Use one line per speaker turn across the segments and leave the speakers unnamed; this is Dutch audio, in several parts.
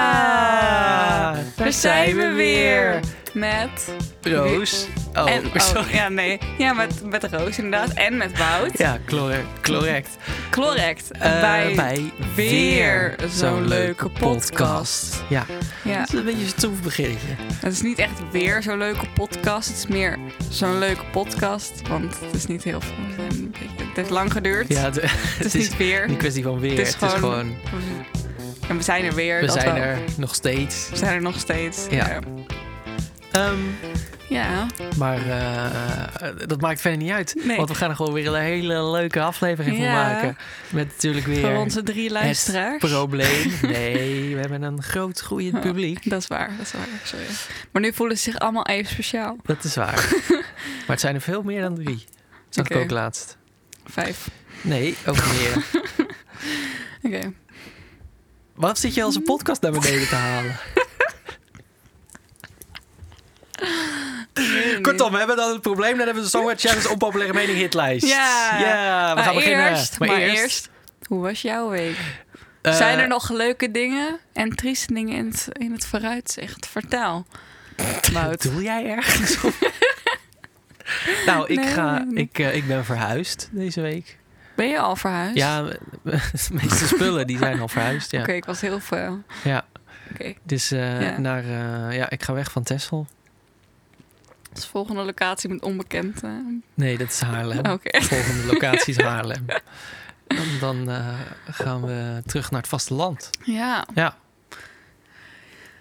Ja!
Daar
Daar zijn we weer. Met.
Roos. Oh,
en, oh,
sorry.
ja, nee. Ja, met, met Roos inderdaad. En met Wout.
Ja, correct. correct.
Correct.
Eh,
bij,
bij
weer
weer
zo'n leuke podcast.
Ja,
Ja.
dat is een beetje een troef beginnetje.
Het is niet echt weer zo'n leuke podcast. Het is meer zo'n leuke podcast. Want het is niet heel veel. Het heeft lang geduurd.
Ja, het,
het is niet weer.
een kwestie van weer.
Het is gewoon-
gewoon,
En we zijn er weer.
we
dat
zijn
wel.
er nog steeds.
We zijn er nog steeds.
Ja.
Ja.
Ehm,
Ja.
maar eh, dat maakt verder niet uit.
Nee.
Want we gaan er gewoon weer een hele leuke aflevering
Ja.
van maken. Met natuurlijk weer
Voor onze drie
het
luisteraars.
probleem. Nee, we hebben een groot groeiend
Oh.
publiek.
Dat is waar, dat is waar. Sorry. Maar nu voelen ze zich allemaal even speciaal.
Dat is waar. maar het zijn er veel meer dan drie. Zag
Oké.
ik ook laatst.
Vijf.
Nee, ook meer.
Oké.
Wat zit je als een podcast naar beneden te halen? Kortom, we hebben dan het probleem. Dan hebben we de Songwriter Challenge onpopulaire mening hitlijst.
Ja.
ja we
Maar
gaan beginnen.
eerst- maar eerst, Hoe was jouw week?
eh,
Zijn er nog leuke dingen en trieste dingen in het, in het vooruitzicht? Vertel. Wout.
Eh, Doe jij ergens op? nou, ik,
Nee.
ga, ik, eh, ik ben verhuisd deze week.
Ben je al verhuisd?
Ja, de meeste spullen die zijn al verhuisd. Ja.
Oké, ik was heel eh, veel.
Ja.
Oké,
Dus eh,
Ja.
Naar, eh, ja, ik ga weg van Texel.
dus volgende locatie met onbekend. eh,
Nee, dat is Haarlem.
Oké.
Volgende locatie is Haarlem. Dan, dan eh, gaan we terug naar het vasteland.
Ja.
Ja.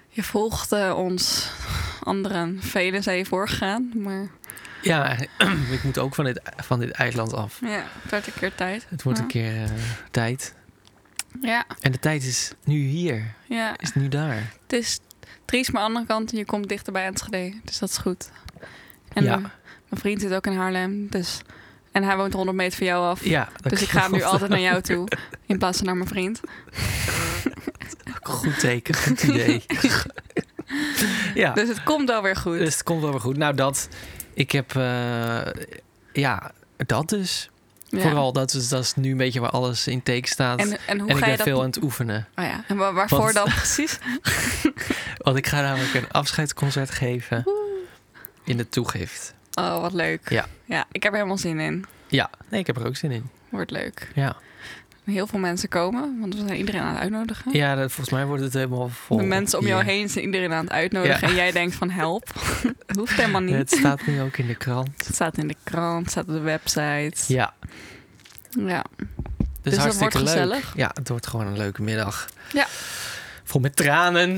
Je volgt eh, ons. Anderen, velen zijn je voorgegaan, maar
Ja, ik moet ook van dit, van dit eiland af.
ja, het werd een keer tijd.
Het wordt
Ja.
een keer eh, tijd.
Ja,
En de tijd is nu hier.
ja.
Is nu daar.
Het is triest, maar aan de andere kant, je komt dichter bij Enschede. Dus dat is goed. En
Ja.
eh, mijn vriend zit ook in Haarlem. Dus, en hij woont 100 meter van jou af.
Ja, dat
dus ik ga nu
klopt.
altijd naar jou toe. In plaats van naar mijn vriend.
Goed teken, goed idee. ja,
Dus het komt wel weer goed.
dus het komt wel weer goed. Nou, dat. Ik heb. eh, ja, dat dus.
Ja.
Vooral dat is, dat is nu een beetje waar alles in teken staat. En,
En, en hoe
ik
ga
ben
je dat...
veel aan het oefenen.
Oh ja. En wa- waarvoor
Want-
dan precies?
Want ik ga namelijk een afscheidsconcert geven. In de toegift.
Oh, wat leuk.
Ja.
ja, ik heb er helemaal zin in.
Ja, nee, ik heb er ook zin in.
Wordt leuk.
Ja,
Heel veel mensen komen, want we zijn iedereen aan het uitnodigen.
ja dat, volgens mij wordt het helemaal vol.
Hm? De mensen om jou
hier.
heen zijn iedereen aan het uitnodigen. En jij denkt van help. Hoeft helemaal niet.
Het staat nu ook in de krant.
Het staat in de krant, het staat op de website.
Ja,
Ja.
dus,
Dus dat
hartstikke
wordt
leuk.
gezellig.
Ja, het wordt gewoon een leuke middag.
Ja.
Vol met tranen.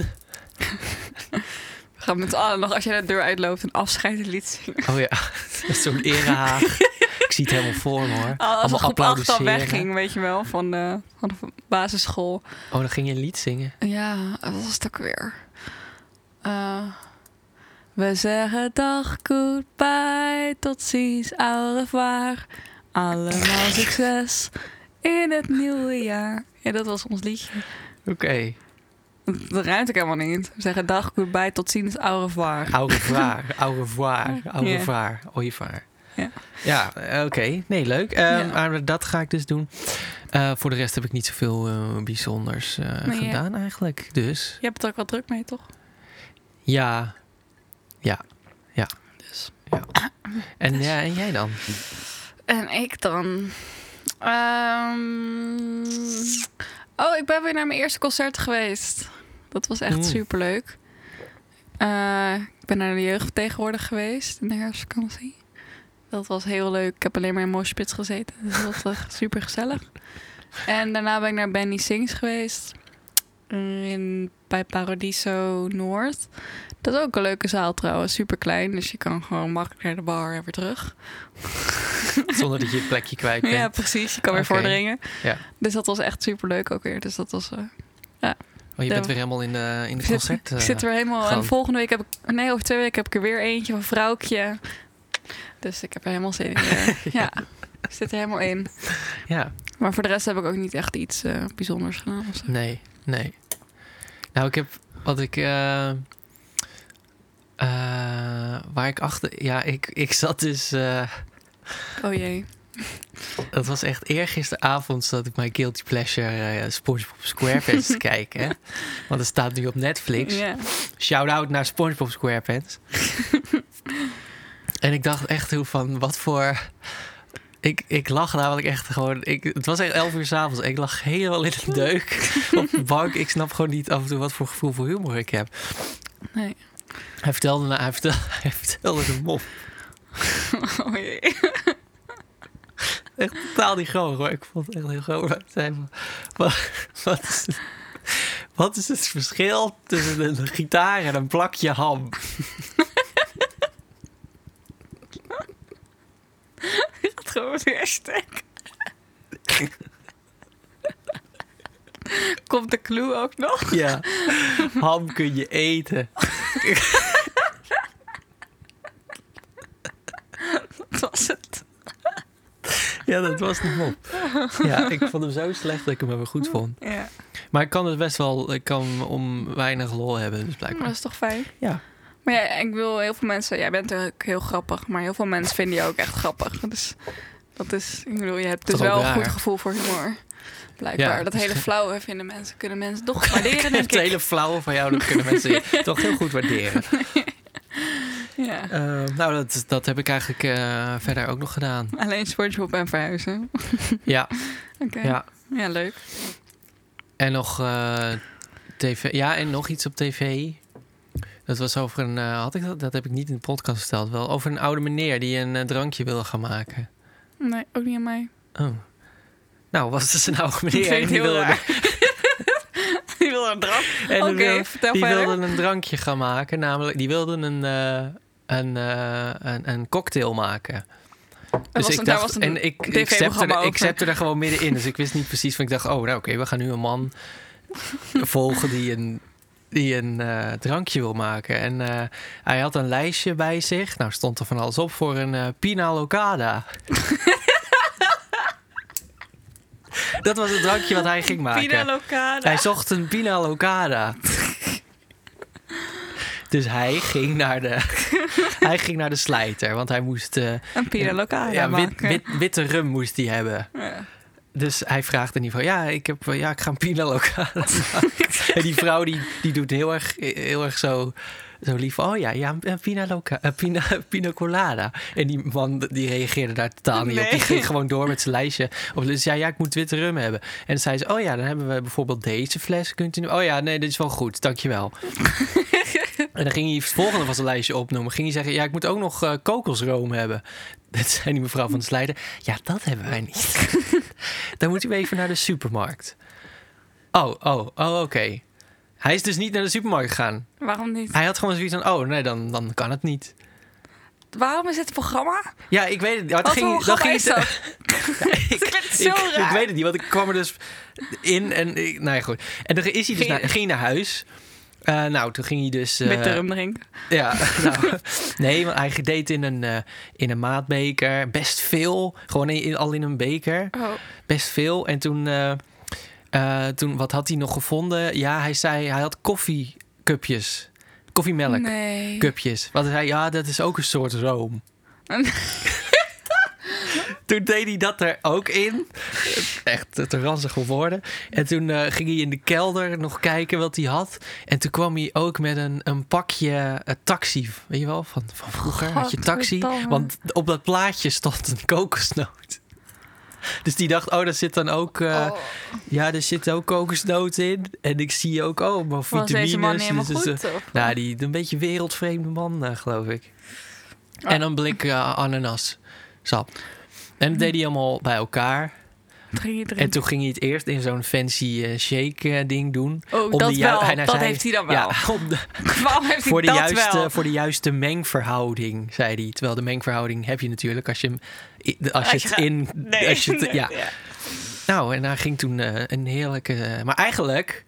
We gaan met z'n allen nog, als jij de deur uitloopt, een afscheidslied zingen.
Oh ja, dat is zo'n erehaag. Ik zie het helemaal voor me
Oh,
hoor.
Als
Allemaal
Allemaal groep 8 al
applaudisseren.
wegging, weet je wel, van de, van de basisschool.
Oh, dan ging je een lied zingen.
Ja, wat was het ook weer? Eh, we zeggen dag, goodbye, tot ziens, au revoir. Allemaal succes in het nieuwe jaar. Ja, dat was ons liedje.
Oké.
Dat ruimt ook helemaal niet. We zeggen dag, goodbye, tot ziens, au revoir.
Au revoir, au revoir, au
Ja.
revoir, au revoir.
Ja.
Ja, eh, oké. Nee, leuk. Ehm,
Ja.
Maar dat ga ik dus doen. Eh, voor de rest heb ik niet zoveel eh, bijzonders eh,
Nee, ja.
gedaan eigenlijk. Dus
Je hebt het ook wel druk mee, toch?
ja. Ja. Ja.
Dus.
ja. En, ja, en jij dan?
En ik dan? Ehm, Oh, ik ben weer naar mijn eerste concert geweest. Dat was echt
Mm.
superleuk. Eh, ik ben naar de jeugd tegenwoordig geweest in de herfstvakantie. Dat was heel leuk. Ik heb alleen maar in Moshpits gezeten. Dus dat was echt super gezellig. En daarna ben ik naar Benny Sings geweest. In, bij Paradiso Noord. Dat is ook een leuke zaal trouwens. Super klein. Dus je kan gewoon makkelijk naar de bar en weer terug.
Zonder dat je het plekje kwijt bent.
Ja, precies. Je kan weer
Oké.
voordringen.
Ja.
Dus dat was echt super leuk ook weer. Dus dat was. eh,
Oh,
Ja.
je bent weer helemaal in de, in de
nou. ik zit-
concert.
ik
eh,
zit er helemaal.
gewoon.
En volgende week heb ik. Nee, over twee weken heb ik er weer eentje van vrouwtje. Dus ik heb er helemaal zin in. eh. ja. Ik zit er helemaal in.
Ja,
Maar voor de rest heb ik ook niet echt iets eh, bijzonders gedaan. Of zo.
nee, nee. Nou, ik heb wat ik. eh, eh, waar ik achter. Ja, ik, ik zat dus. eh,
Oh jee.
Dat was echt eergisteravond zat ik mijn Guilty Pleasure eh, SpongeBob SquarePants te kijken. Hè? Want het staat nu op Netflix.
Ja.
Shout-out naar SpongeBob SquarePants. en ik dacht echt hoe van, wat voor... Ik, ik lag namelijk echt gewoon... Ik, het was echt elf uur s'avonds. Ik lag helemaal in de deuk op de bank. Ik snap gewoon niet af en toe wat voor gevoel voor humor ik heb.
Nee.
Hij vertelde, na- hij vertelde, hij vertelde de mop.
Oh jee.
Echt totaal niet grappig, maar ik vond het echt heel grappig. Hij zei van, "Wa- wat, is het, wat is het verschil tussen een gitaar en een plakje ham?
Het gewoon weer stek. Komt de clue ook nog?
Ja, ham kun je eten.
Dat was het.
Ja, dat was de mop. Ja, ik vond hem zo slecht dat ik hem wel weer goed vond.
Ja.
Maar ik kan het best wel, ik kan hem om weinig lol hebben, dus
Maar dat
blijkbaar.
is toch fijn?
Ja.
Maar ja, ik wil heel veel mensen... Jij bent ook heel grappig, maar heel veel mensen vinden je ook echt grappig. Dus dat is... Ik bedoel, je hebt dus
Toch ook
wel een
raar.
goed gevoel voor humor. Blijkbaar.
Ja,
dat hele
misschien.
flauwe vinden mensen, kunnen mensen toch waarderen, denk
Het
ik.
hele flauwe van jou, dat kunnen mensen toch heel goed waarderen.
Ja.
Eh, nou, dat, dat heb ik eigenlijk eh, verder ook nog gedaan.
Alleen SpongeBob en verhuizen.
Ja,
Oké. Ja.
ja.
leuk.
En nog eh, tv. Ja, en nog iets op tv. Dat was over een. eh, had ik dat? Dat heb ik niet in de podcast verteld. Wel over een oude meneer die een eh, drankje wilde gaan maken.
Nee, ook niet aan mij.
Oh. Nou, was dus een oude
Ik
meneer.
vind
en
het
die
heel
wilde,
raar. Die wil een draf.
en die
Oké,
wilde-
vertel
die
verder.
wilde een drankje gaan maken. Namelijk, die wilde een, eh, een, eh, een, een cocktail maken. Dus
was
ik
een- daar
dacht,
was een
en ik, ik,
TV-programma
zette er, ik
over.
zette er gewoon middenin. Dus ik wist niet precies van ik dacht, oh, nou oké, we gaan nu een man volgen die een, die een eh, drankje wil maken. En eh, hij had een lijstje bij zich. Nou stond er van alles op voor een eh, pina locada. Dat was het drankje wat hij ging maken.
Pina Locada.
Hij zocht een pina locada. Dus hij ging naar de, hij ging naar de slijter, want hij moest eh,
Een Pina Locada
ja, wit,
maken.
wit, witte rum moest hij hebben.
Ja.
Dus hij vraagt in ieder geval, ja, ik, heb, eh, ja, ik ga een pina locada maken. En die vrouw die, die doet heel erg, heel erg zo, zo lief. Oh ja, ja een pina, loca, een pina, pina colada. En die man die reageerde daar totaal niet op. Die
Nee.
ging gewoon door met zijn lijstje. Of dus ja, ja, ik moet witte rum hebben. En dan zei ze, oh ja, dan hebben we bijvoorbeeld deze fles. Kunt u, oh ja, nee, dit is wel goed, dankjewel. en dan ging hij het volgende van zijn lijstje opnoemen. Ging hij zeggen, ja, ik moet ook nog eh, kokosroom hebben. Dat zei die mevrouw van de slijder. Ja, dat hebben wij niet. dan moet u even naar de supermarkt. Oh, oh, oh, oké. Hij is dus niet naar de supermarkt gegaan.
Waarom niet?
Hij had gewoon zoiets van, oh nee, dan, dan kan het niet.
Waarom is dit programma?
Ja, ik weet het niet. Maar het
Wat
ging-
voor
dan
programma
ging
is
het-
dat? Ik vind het zo
ik,
raar.
ik weet het niet, want ik kwam er dus in en... Ik, nou ja, goed. En dan is hij dus
Ging-
naar, ging hij naar huis. Eh, nou, toen ging hij dus... eh,
Witte rum drinken.
Ja, nou, nee, want hij deed in een, eh, in een maatbeker best veel. Gewoon in- in- al in een beker.
Oh,
Best veel. En toen, eh, eh, toen, wat had hij nog gevonden? Ja, hij zei, hij had koffiecupjes. Koffiemelk.
nee.
Cupjes. Wat hij zei, ja, dat is ook een soort room. toen deed hij dat er ook in. Echt te ranzig voor woorden. En toen eh, ging hij in de kelder nog kijken wat hij had. En toen kwam hij ook met een, een pakje eh, taxi. Weet je wel, van, van vroeger had je taxi.
Godverdamme.
Want op dat plaatje stond een kokosnoot. Dus die dacht, oh, daar zit dan ook... eh,
Oh,
Ja, er zit ook kokosnoot in. En ik zie ook, oh, maar
was
vitamines.
deze man niet helemaal
dus, eh,
goed? of?
nou, die een beetje wereldvreemde man, eh, geloof ik.
Ah.
En een blik eh, ananas. Sap. En dat deed hij allemaal bij elkaar.
Drie, drie.
En toen ging hij het eerst in zo'n fancy eh, shake eh, ding doen.
oh,
om
dat
de ju-
wel.
hij- hij
dat
zei-
heeft hij dan wel.
Ja, om de-
Waarom heeft hij
voor, de
dat
juiste, eh,
wel?
voor de juiste mengverhouding, zei hij. Terwijl de mengverhouding heb je natuurlijk als je, hem i- als je
Als je
het
gaat-
in...
Nee.
Als je het- ja.
ja.
Nou, en hij ging toen eh, een heerlijke... eh, maar eigenlijk...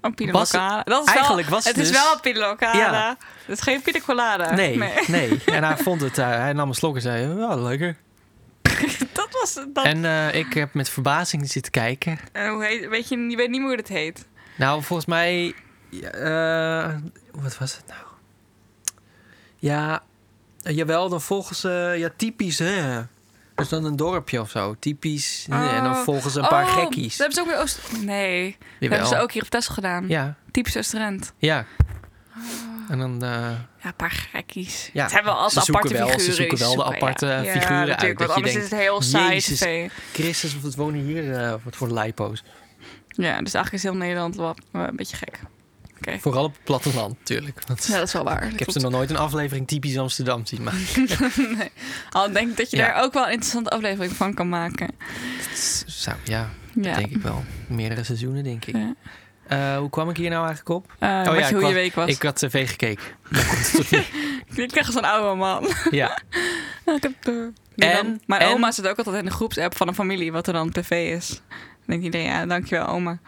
Een pina
Was-
colada. Dat is
eigenlijk
wel,
was het
het is
dus-
wel een pina colada.
Ja.
Het is geen pina colada.
Nee, nee. En hij vond het... eh, hij nam een slok en zei, wel lekker.
dat was dat. En,
En eh, ik heb met verbazing zitten kijken.
hoe heet, weet je, je weet niet meer hoe dat heet.
Nou, volgens mij. eh, wat was het nou? Ja, eh, jawel, dan volgens. eh, ja, typisch hè. Dus dan een dorpje of zo, typisch.
Oh.
En dan volgen ze een paar
Oh,
gekkies.
Dat hebben ze ook weer Oost... Nee, dat
Jawel.
hebben ze ook hier op Tessel gedaan.
Ja,
Typisch Oost-Drent.
ja.
Oh.
En dan... eh,
Ja, een paar gekkies.
Ja,
Ja, hebben we als
ze zoeken
aparte
wel- ze
figuren.
zoeken wel de
Zoeken,
aparte
ja.
figuren
ja,
uit,
natuurlijk,
dat
Want
je
anders
denkt,
is het heel saai
Jezus.
tv.
Christus, of het wonen hier eh wat voor lijpo's.
Ja, dus eigenlijk is heel Nederland wel eh, een beetje gek.
Vooral op het platteland, natuurlijk. Want
Ja, dat is wel waar.
ik heb ze nog nooit een aflevering typisch Amsterdam zien maken.
nee. Al denk ik dat je
Ja.
daar ook wel een interessante aflevering van kan maken.
Zo, ja,
Ja.
denk ik wel. Meerdere seizoenen, denk ik.
Ja.
Eh, hoe kwam ik hier nou eigenlijk op?
Eh,
ja,
wat
ik
je, hoe
was-
je week was.
Ik had tv gekeken. Daar komt het op neer.
Ik krijg zo'n oude man.
ja,
ik heb de...
En-
En, Mijn
en-
oma zit ook altijd in de groepsapp van een familie, wat er dan tv is. Dan denkt iedereen, ja, dankjewel oma.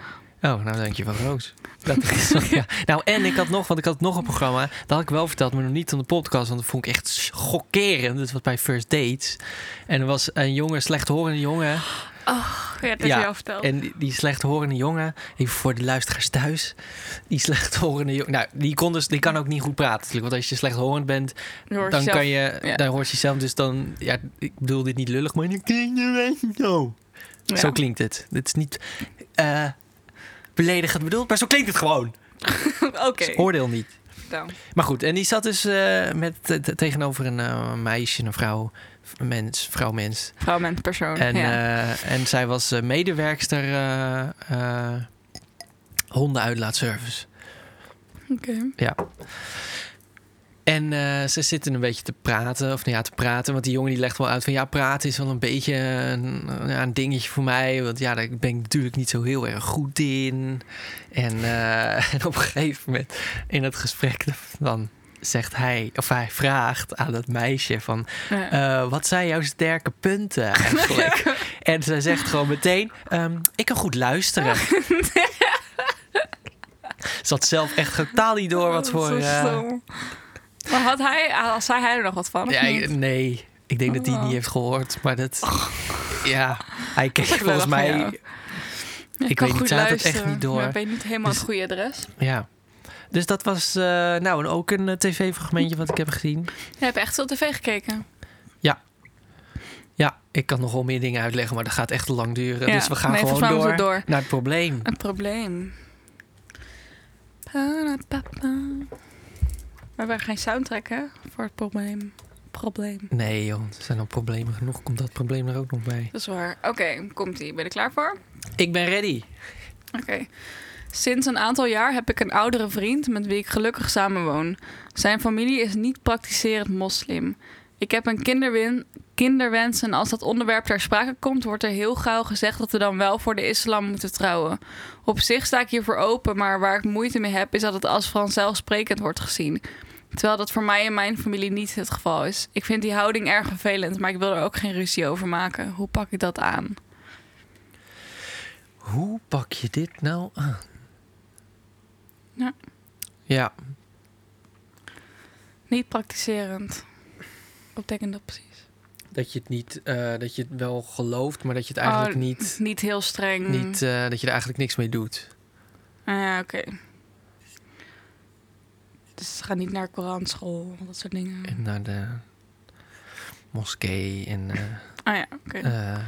oh, nou denk je van Roos. Dat is, ja. Nou, en ik had nog, want ik had nog een programma. Dat had ik wel verteld, maar nog niet aan de podcast. Want dat vond ik echt chockerend. Dat was bij First Dates. En er was een jongen, slechthorende jongen.
Ja, dat
heb Ja, je al
verteld.
En die, die slechthorende jongen, even voor de luisteraars thuis. Die slechthorende jongen, nou, die, kon dus, die kan ook niet goed praten. natuurlijk, Want als je slechthorend bent, dan, kan je,
ja.
dan hoort je zelf. Dus dan, ja, ik bedoel dit niet lullig, maar dan klinkt je wel zo. Zo klinkt het. Dit is niet eh, beledigend bedoeld, maar zo klinkt het gewoon.
Oké,
Dus oordeel niet.
dan.
Maar goed, en die zat dus eh, met, te- te- tegenover een eh, meisje, een vrouw, mens, vrouw, mens.
Vrouw met persoon.
En,
Oh, ja.
eh, en zij was eh, medewerkster eh eh hondenuitlaatservice. eh,
Oké.
En eh, ze zitten een beetje te praten, of nou ja, te praten. Want die jongen die legt wel uit van ja, praten is wel een beetje een, ja, een dingetje voor mij. Want ja, daar ben ik natuurlijk niet zo heel erg goed in. En, eh, en op een gegeven moment in het gesprek dan zegt hij, of hij vraagt aan dat meisje van...
Ja.
Eh, wat zijn jouw sterke punten eigenlijk? en zij zegt gewoon meteen, ehm, ik kan goed luisteren. Ze had zelf echt totaal niet door wat
Oh,
voor...
zo
eh,
stom. Maar had hij, had- zei hij er nog wat van? of
ja,
niet? Oh.
ik- nee, ik denk dat hij het niet heeft gehoord. Maar dat... Ja, hij keek
Wat
volgens
lullig van
mij...
jou. Ja,
ik
kan
weet niet,
goed
ze had het echt
luisteren,
niet door.
Maar ik weet niet helemaal
Dus-
het goede adres.
Ja. Dus dat was eh, nou ook een eh, tv-fragmentje wat ik heb gezien.
Je hebt echt veel tv gekeken.
Ja, ik kan nog wel meer dingen uitleggen, maar dat gaat echt te lang duren.
Ja,
Dus we gaan
nee,
gewoon
volgens mij
door,
moeten we door.
naar het probleem.
Een probleem. Pa-da-pa-pa. We hebben geen soundtrack, hè? Voor het probleem. Probleem.
Nee joh, er zijn al problemen genoeg. Komt dat probleem er ook nog bij?
Dat is waar. Oké, komt-ie. Ben je er klaar voor?
Ik ben ready.
Oké. Sinds een aantal jaar heb ik een oudere vriend met wie ik gelukkig samenwoon. Zijn familie is niet praktiserend moslim. Ik heb een kinderwin, kinderwens en als dat onderwerp ter sprake komt, wordt er heel gauw gezegd dat we dan wel voor de islam moeten trouwen. Op zich sta ik hiervoor open, maar waar ik moeite mee heb, is dat het als vanzelfsprekend wordt gezien. Terwijl dat voor mij en mijn familie niet het geval is. Ik vind die houding erg vervelend, maar ik wil er ook geen ruzie over maken. Hoe pak ik dat aan?
Hoe pak je dit nou aan?
Ja.
Ja,
Niet praktiserend. Wat betekent dat precies?
dat je het niet, eh, dat je het wel gelooft, maar dat je het eigenlijk
Oh,
niet,
Niet heel streng.
niet eh, dat je er eigenlijk niks mee doet.
Ah, ja, oké. Dus ze gaan niet naar Koranschool, dat soort dingen.
En naar de moskee en eh,
Ah ja, oké.
eh,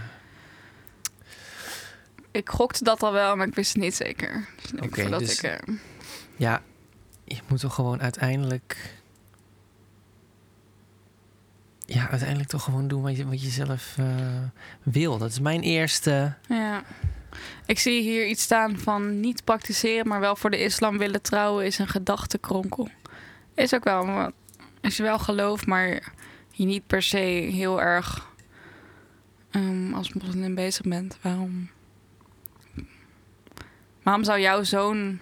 Ik gokte dat al wel, maar ik wist het niet zeker. Dus nee,
Oké,
voordat
dus-
ik, eh,
ja, je moet toch gewoon uiteindelijk, ja, uiteindelijk toch gewoon doen wat je, wat je zelf eh, wil. Dat is mijn eerste.
ja. Ik zie hier iets staan van niet praktiseren, maar wel voor de islam willen trouwen is een gedachtenkronkel. Is ook wel, want als je wel gelooft, maar je niet per se heel erg ehm, als moslim bezig bent, waarom? Waarom zou jouw zoon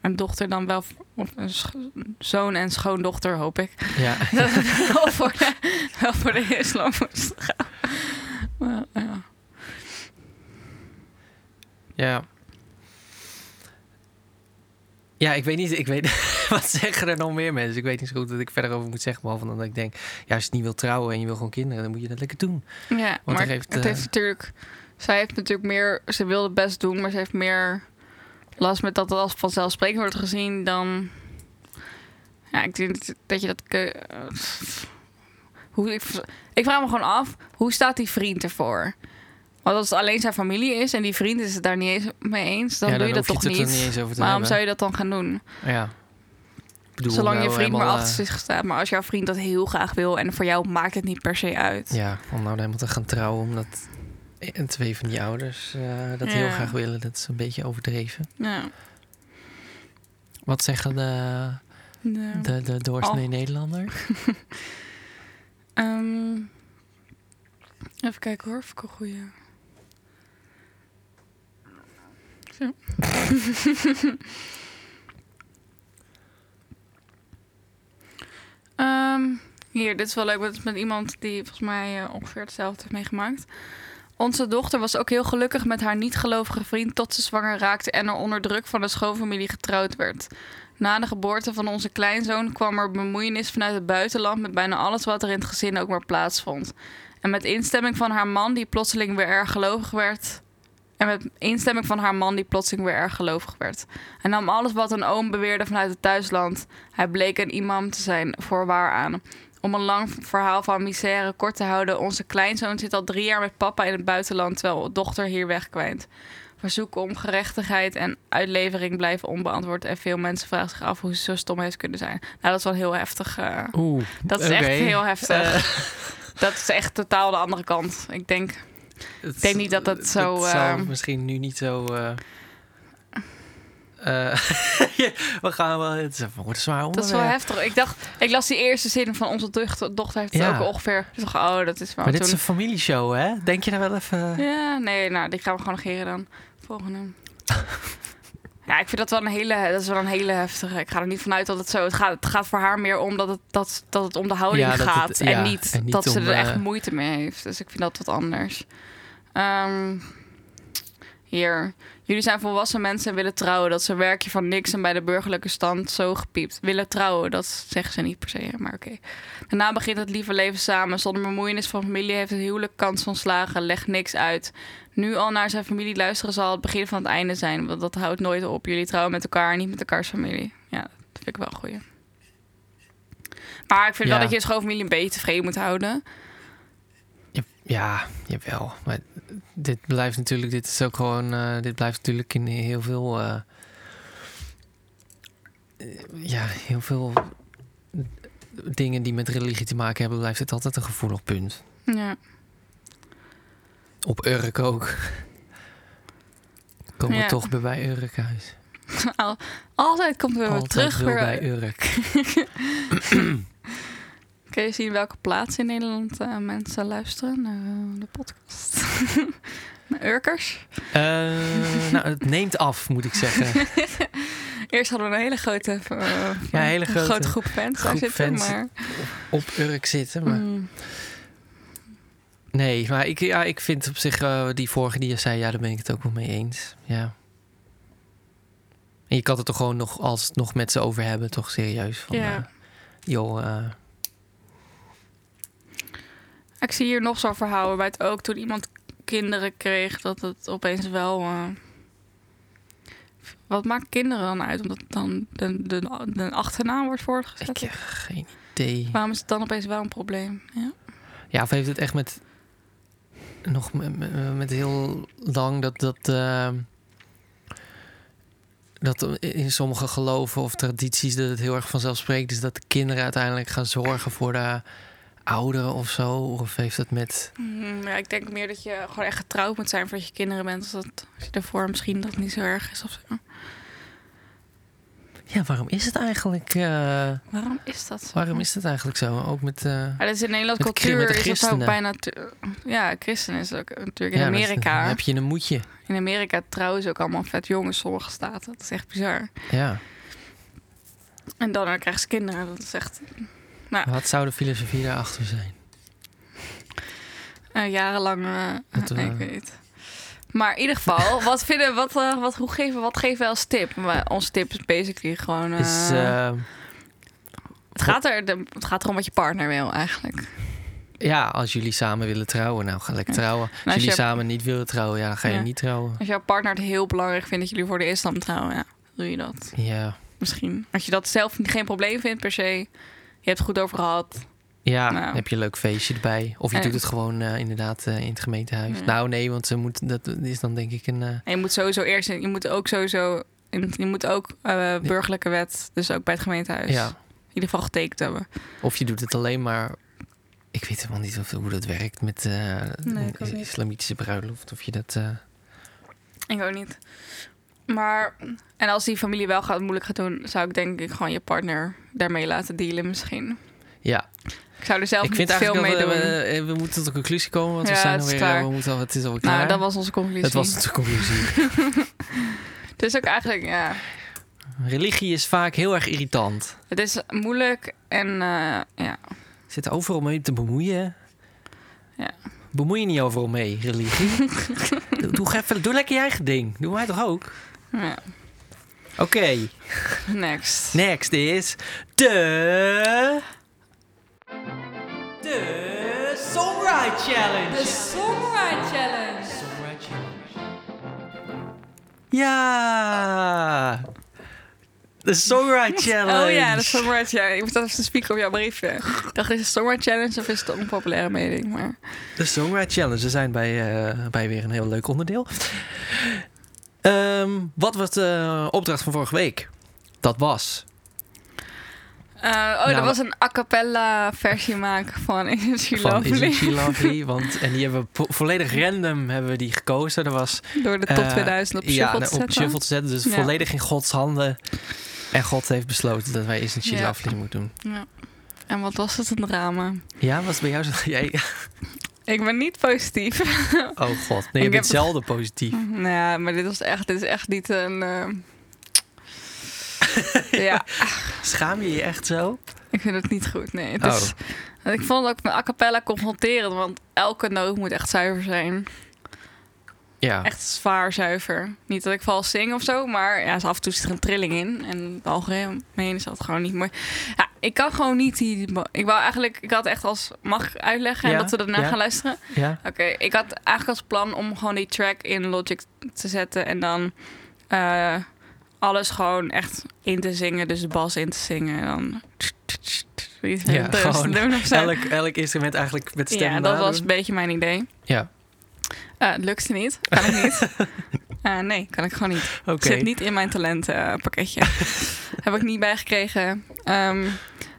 en dochter dan wel, of een scho- zoon en schoondochter hoop ik,
Ja.
dat het wel voor de, wel voor de islam moest gaan? Maar, ja.
Ja. Ja, ik weet niet. Ik weet, wat zeggen er nog meer mensen? Ik weet niet zo goed wat ik verder over moet zeggen. Behalve dan dat ik denk, ja, als je het niet wil trouwen en je wil gewoon kinderen, dan moet je dat lekker doen.
Ja,
Want
maar
er heeft,
het
eh,
heeft natuurlijk... Zij heeft natuurlijk meer... Ze wilde het best doen, maar ze heeft meer last met dat het als vanzelfsprekend wordt gezien dan... Ja, ik denk dat- dat je dat... ke- eh, Hoe ik, ik Ik vraag me gewoon af, hoe staat die vriend ervoor? Want als het alleen zijn familie is en die vriend is het daar niet eens mee eens, dan
Ja,
doe je dat
hoef
toch
het er
niet.
eens over te
Waarom
hebben.
zou je dat dan gaan doen?
Ja. Ik bedoel,
Zolang je
nou
vriend maar
helemaal,
achter zich staat. Maar als jouw vriend dat heel graag wil en voor jou maakt het niet per se uit.
eh, Ja, om nou helemaal te gaan trouwen omdat en twee van die ouders eh, dat heel
Ja.
graag willen, dat is een beetje overdreven.
Ja.
Wat zeggen de,
Ja. Oh.
de, de doorsnee Nederlander?
Ehm, even kijken hoor, of ik een goede. Zo. Ehm, hier, dit is wel leuk. want Het is met iemand die volgens mij eh, ongeveer hetzelfde heeft meegemaakt. Onze dochter was ook heel gelukkig met haar niet-gelovige vriend tot ze zwanger raakte en er onder druk van de schoonfamilie getrouwd werd. Na de geboorte van onze kleinzoon kwam er bemoeienis vanuit het buitenland met bijna alles wat er in het gezin ook maar plaatsvond. En met instemming van haar man, die plotseling weer erg gelovig werd. En met instemming van haar man, die plotseling weer erg gelovig werd. Hij nam alles wat een oom beweerde vanuit het thuisland. Hij bleek een imam te zijn, voorwaar aan. Om een lang verhaal van misère kort te houden, onze kleinzoon zit al drie jaar met papa in het buitenland, terwijl dochter hier wegkwijnt. Verzoeken om gerechtigheid en uitlevering blijven onbeantwoord. En veel mensen vragen zich af hoe ze zo stom heeft kunnen zijn. Nou, dat is wel heel heftig. eh,
Oeh,
dat is
oké.
echt heel heftig.
Eh,
Dat is echt totaal de andere kant. Ik denk,
het-
Ik denk niet dat dat zo,
zou
eh,
misschien nu niet zo... eh, eh, we gaan wel... Het is een wordt een zwaar onderwerp.
dat is wel heftig. Ik dacht, ik las die eerste zin van onze dochter, dochter heeft het
Ja.
ook ongeveer. Ik dacht, oh, dat is wel
Maar dit is
toen.
een familieshow, hè? Denk je daar wel even...
Ja, nee, nou, die gaan we gewoon negeren dan. Volgende. ja, ik vind dat wel een hele, dat is wel een hele heftige. Ik ga er niet vanuit dat het zo. Het gaat, het gaat voor haar meer om dat het, dat, dat het om de houding
Ja, dat het-
gaat
ja,
en, niet
en niet
dat ze
om,
er echt
eh,
moeite mee heeft. Dus ik vind dat wat anders. Ehm, hier. Jullie zijn volwassen mensen en willen trouwen. Dat is een werkje van niks en bij de burgerlijke stand zo gepiept. Willen trouwen, dat zeggen ze niet per se, maar oké. Daarna begint het lieve leven samen. Zonder bemoeienis van familie heeft het huwelijk kans van slagen. Legt niks uit. Nu al naar zijn familie luisteren zal het begin van het einde zijn. Want dat houdt nooit op. Jullie trouwen met elkaar, niet met elkaars familie. Ja, dat vind ik wel een goeie. Maar ik vind
Ja.
wel dat je je schoonfamilie een beetje tevreden moet houden.
Ja, ja, jawel. Maar dit blijft natuurlijk, dit is ook gewoon, eh, dit blijft natuurlijk in heel veel, eh, eh, ja, heel veel dingen die met religie te maken hebben, blijft het altijd een gevoelig punt.
Ja.
Op Urk ook. Komen
Ja.
we toch weer bij Urk uit.
Al- Altijd komt er weer
Altijd
terug. eh,
wel
Weer.
bij Urk.
Kun je zien welke plaats in Nederland eh, mensen luisteren naar eh, de podcast? Naar Urkers.
Eh, nou, het neemt af, moet ik zeggen.
Eerst hadden we een hele grote, eh,
Ja, hele
een
grote
grote groep fans daar
groep
zitten.
fans.
Maar,
Op Urk zitten, maar
Mm.
Nee, maar ik, ja, ik vind op zich eh, die vorige die je zei, ja, daar ben ik het ook wel mee eens. Ja. En je kan het toch gewoon nog, als, nog met ze over hebben, toch serieus? Van,
Ja.
eh, joh, eh,
Ik zie hier nog zo'n verhaal waarbij het ook toen iemand kinderen kreeg, dat het opeens wel. eh, wat maakt kinderen dan uit? Omdat het dan de, de, de achternaam wordt
ik
voortgezet.
heb geen idee.
Waarom is het dan opeens wel een probleem? Ja.
Ja, of heeft het echt met, nog met, met- met heel lang dat dat, eh, dat in sommige geloven of tradities dat het heel erg vanzelfsprekend is dat de kinderen uiteindelijk gaan zorgen voor de ouderen of zo? Of heeft het met...
Mm, ja, ik denk meer dat je gewoon echt getrouwd moet zijn voordat je kinderen bent. Als, dat, als je daarvoor misschien dat niet zo erg is of zo.
Ja, waarom is het eigenlijk? eh,
Waarom is dat zo?
waarom is het eigenlijk zo? Ook met. eh,
Maar dat is in Nederland
Met de cri-
cultuur
met de
is dat ook
christenen.
bijna... te- Ja, christen is ook natuurlijk in
ja, met-
Amerika.
dan heb je een moedje.
In Amerika trouwens ook allemaal vet jongens, sommige staten. Dat is echt bizar.
Ja.
En dan krijgen ze kinderen. Dat is echt Ja.
Wat zou de filosofie daarachter zijn?
eh, jarenlang. eh,
Dat, eh,
ik weet niet. Maar in ieder geval, wat vinden, wat, eh, wat, hoe geven, wat geven wij als tip? Maar ons tip is basically gewoon. eh,
Is, eh,
het, gaat er, de- het gaat erom wat je partner wil eigenlijk.
ja, als jullie samen willen trouwen, nou ga lekker trouwen. Als
als
jullie
je-
samen niet willen trouwen, ja, dan ga je
Ja.
niet trouwen.
Als jouw partner het heel belangrijk vindt dat jullie voor de islam trouwen, ja, doe je dat.
Ja.
Misschien. Als je dat zelf geen probleem vindt per se. Je hebt het goed over gehad.
Ja,
Nou.
dan heb je een leuk feestje erbij. Of je
En-
doet het gewoon eh, inderdaad eh, in het gemeentehuis.
Ja.
Nou nee, want ze moet, dat is dan denk ik een... eh,
En je moet sowieso eerst, je moet ook sowieso, je moet ook eh, burgerlijke wet, dus ook bij het gemeentehuis,
ja.
in ieder geval getekend hebben.
Of je doet het alleen maar... Ik weet helemaal niet of, hoe dat werkt met eh,
Nee, ik ook
is-
niet.
islamitische bruiloft. Of je dat... eh,
Ik ook niet. Maar, en als die familie wel gaat moeilijk gaat doen, zou ik denk ik gewoon je partner daarmee laten dealen misschien.
ja,
Ik zou er zelf
ik vind
niet veel
eigenlijk
mee
dat
doen.
we, eh, we, moeten tot een conclusie komen. Want we
Ja,
zijn
het is
alweer...
klaar.
eh, We moeten al, het is alweer klaar.
nou, dat was onze conclusie.
Dat was de conclusie.
Het is ook eigenlijk, ja,
Religie is vaak heel erg irritant.
het is moeilijk en eh, ja,
Zit er overal mee te bemoeien.
Ja.
Bemoei je niet overal mee, religie. doe, doe, even, doe lekker je eigen ding. Doe mij toch ook?
ja.
Oké,
next.
next is de... De Songwrite Challenge.
The Songwriting Challenge.
Ja! De Songwrite Challenge.
Oh ja, de Summer Challenge. Ik moet dat even spieken op jouw briefje. Ik dacht, is het Summer Challenge of is het een onpopulaire mening? Maar
De Songwrite Challenge. We zijn bij, eh, bij weer een heel leuk onderdeel. Ehm, wat was de opdracht van vorige week? Dat was.
Eh, oh,
Nou,
er was een a cappella versie maken van Is She
van
Lovely?
Isn't She Lovely? Want, en die hebben we vo- volledig random hebben we die gekozen. Er was
Door de top
eh,
2000 op
ja,
shuffle
op
te zetten.
shuffle te zetten. Dus
Ja.
volledig in Gods handen. En God heeft besloten dat wij Isn't She
Ja.
Lovely moeten doen.
En wat was het een drama?
Ja, was het bij jou zo? Jij,
Ik ben niet positief.
oh god, nee, je
Ik
bent
heb-
zelden positief.
nou ja, maar dit, was echt, dit is echt niet een... eh, ja,
Schaam je je echt zo? Oh,
ik vind het niet goed, nee. Het is- Ik vond het ook met a cappella confronterend, want elke noot moet echt zuiver zijn.
Ja.
Echt zwaar zuiver. Niet dat ik vals zing of zo, maar ja, af en toe zit er een trilling in. En het algemeen is dat gewoon niet mooi. Ja, ik kan gewoon niet die... Ik wou eigenlijk... Ik had echt als... Mag ik uitleggen?
Ja,
en dat we daarna
ja.
gaan luisteren?
ja.
Oké, ik had eigenlijk als plan om gewoon die track in Logic te zetten. En dan eh, alles gewoon echt in te zingen. Dus de bas in te zingen. En dan...
Ja,
Dus
gewoon
doen of zo.
Elk, elk instrument eigenlijk met stemmen.
Ja, dat
nadoen.
was een beetje mijn idee.
Ja,
Eh, het lukte niet. Kan ik niet. Eh, nee, kan ik gewoon niet.
oké.
Het Zit niet in mijn talentenpakketje. heb ik niet bijgekregen. Ehm,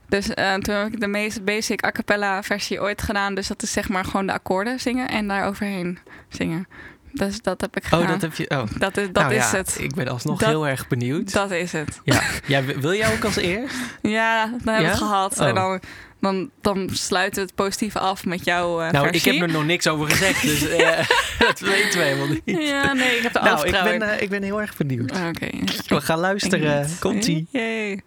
dus eh, toen heb ik de meest basic a cappella versie ooit gedaan. Dus dat is zeg maar gewoon de akkoorden zingen en daar overheen zingen. Dus dat heb ik gedaan.
Oh, dat heb je. Oh.
dat is, dat
Nou
is
ja,
het.
Ik ben alsnog
Dat-
heel erg benieuwd.
Dat is het.
Ja. ja, w- wil jij ook als eerst?
Ja, dan hebben we het
Ja?
gehad.
Oh.
En dan, dan, dan sluiten we het positieve af met jouw eh,
nou, ik
versie.
heb er nog niks over gezegd, dus eh, dat weten we helemaal niet.
Ja, nee, ik heb de
nou, ik
afvertrouwen.
ben, eh, ik ben heel erg benieuwd.
Ah, Oké. Ik
We gaan luisteren.
niet.
Komt-ie.
Yay.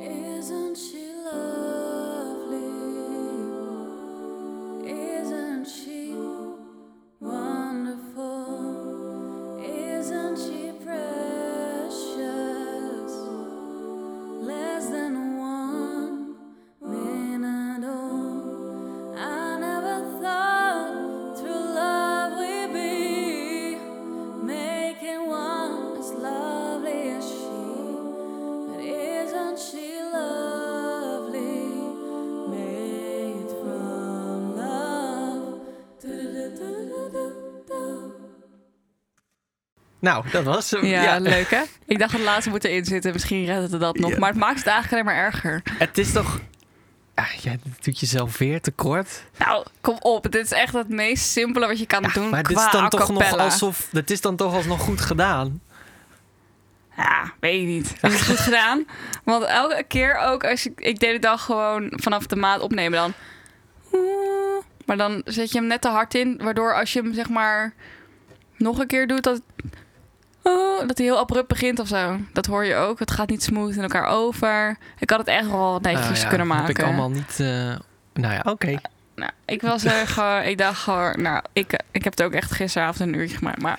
Isn't she lovely? Isn't she wonderful? Isn't she precious? Less than one minute old. I never thought through love we'd be making one as lovely as she. But isn't she lovely? Made from love. Do-do-do-do-do-do.
Nou, dat was hem.
Ja,
Ja,
leuk hè? Ik dacht het laatste moet erin zitten. Misschien redden we dat nog.
Ja.
Maar het maakt het eigenlijk alleen maar erger.
Het is toch. Ah, jij doet jezelf weer tekort.
Nou, kom op. Dit is echt het meest simpele wat je kan doen
maar
qua
dit is dan toch nog
acapella.
alsof. Dat is dan toch alsnog goed gedaan.
Ja, weet je niet. Dat is goed gedaan. Want elke keer ook, als ik, ik deed het dan gewoon vanaf de maat opnemen dan. eh, Maar dan zet je hem net te hard in. Waardoor als je hem zeg maar nog een keer doet, dat, eh, dat hij heel abrupt begint of zo. Dat hoor je ook. Het gaat niet smooth in elkaar over. Ik had het echt wel netjes
Ah, ja,
kunnen
Heb
maken.
ik allemaal niet. eh, nou ja, oké.
Nou, ik was er gewoon, ik dacht gewoon, nou, ik, ik heb het ook echt gisteravond een uurtje gemaakt, maar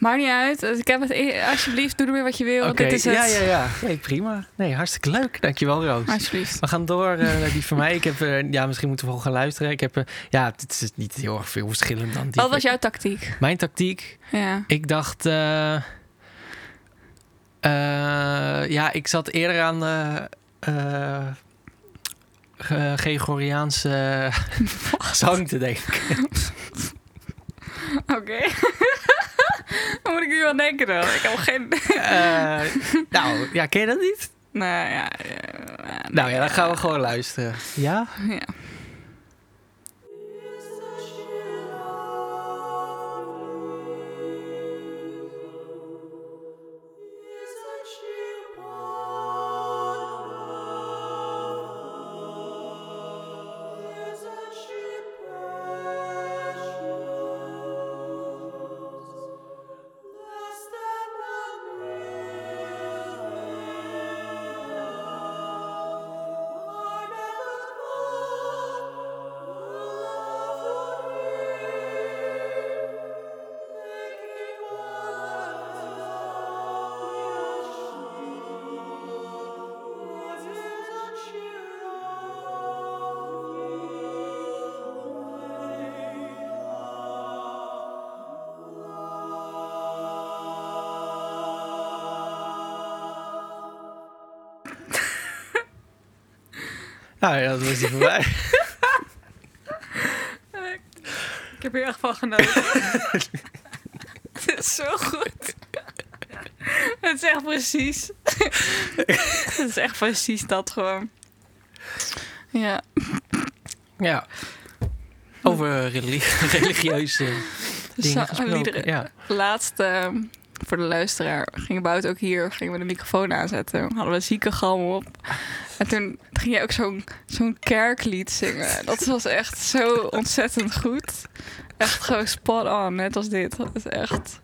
maakt niet uit. Ik heb het, e- alsjeblieft, doe ermee wat je wil,
Oké,
dit is het.
ja, ja, ja. Nee, prima. Nee, hartstikke leuk. Dankjewel, Roos.
Alsjeblieft.
We gaan door eh, naar die van mij. Ik heb, eh, ja, misschien moeten we gewoon gaan luisteren. Ik heb, eh, ja, het is niet heel erg veel verschillend dan die.
Wat was jouw tactiek?
Mijn tactiek,
Ja.
ik dacht, eh, eh, ja, ik zat eerder aan de eh, Ge- Gregoriaanse zang te denken.
Oké. Dan moet ik nu wel denken dan. Ik heb geen...
Eh, nou, ja, ken je dat niet?
nou ja. eh,
Nou ja, dan gaan we gewoon luisteren. Ja?
Ja.
Nou ja, dat was die voor mij.
Ik heb hier echt van genoten. Het is zo goed. Het is echt precies. Het is echt precies dat gewoon. Ja.
Ja. Over religie, religieuze
Zo-
dingen gesproken.
liederen.
Ja.
Laatst, ehm, voor de luisteraar, ging Bout ook hier, gingen we de microfoon aanzetten. Hadden we ziekengalm op. En toen ging jij ook zo'n zo'n kerklied zingen. Dat was echt zo ontzettend goed. Echt gewoon spot on, net als dit. Dat is echt...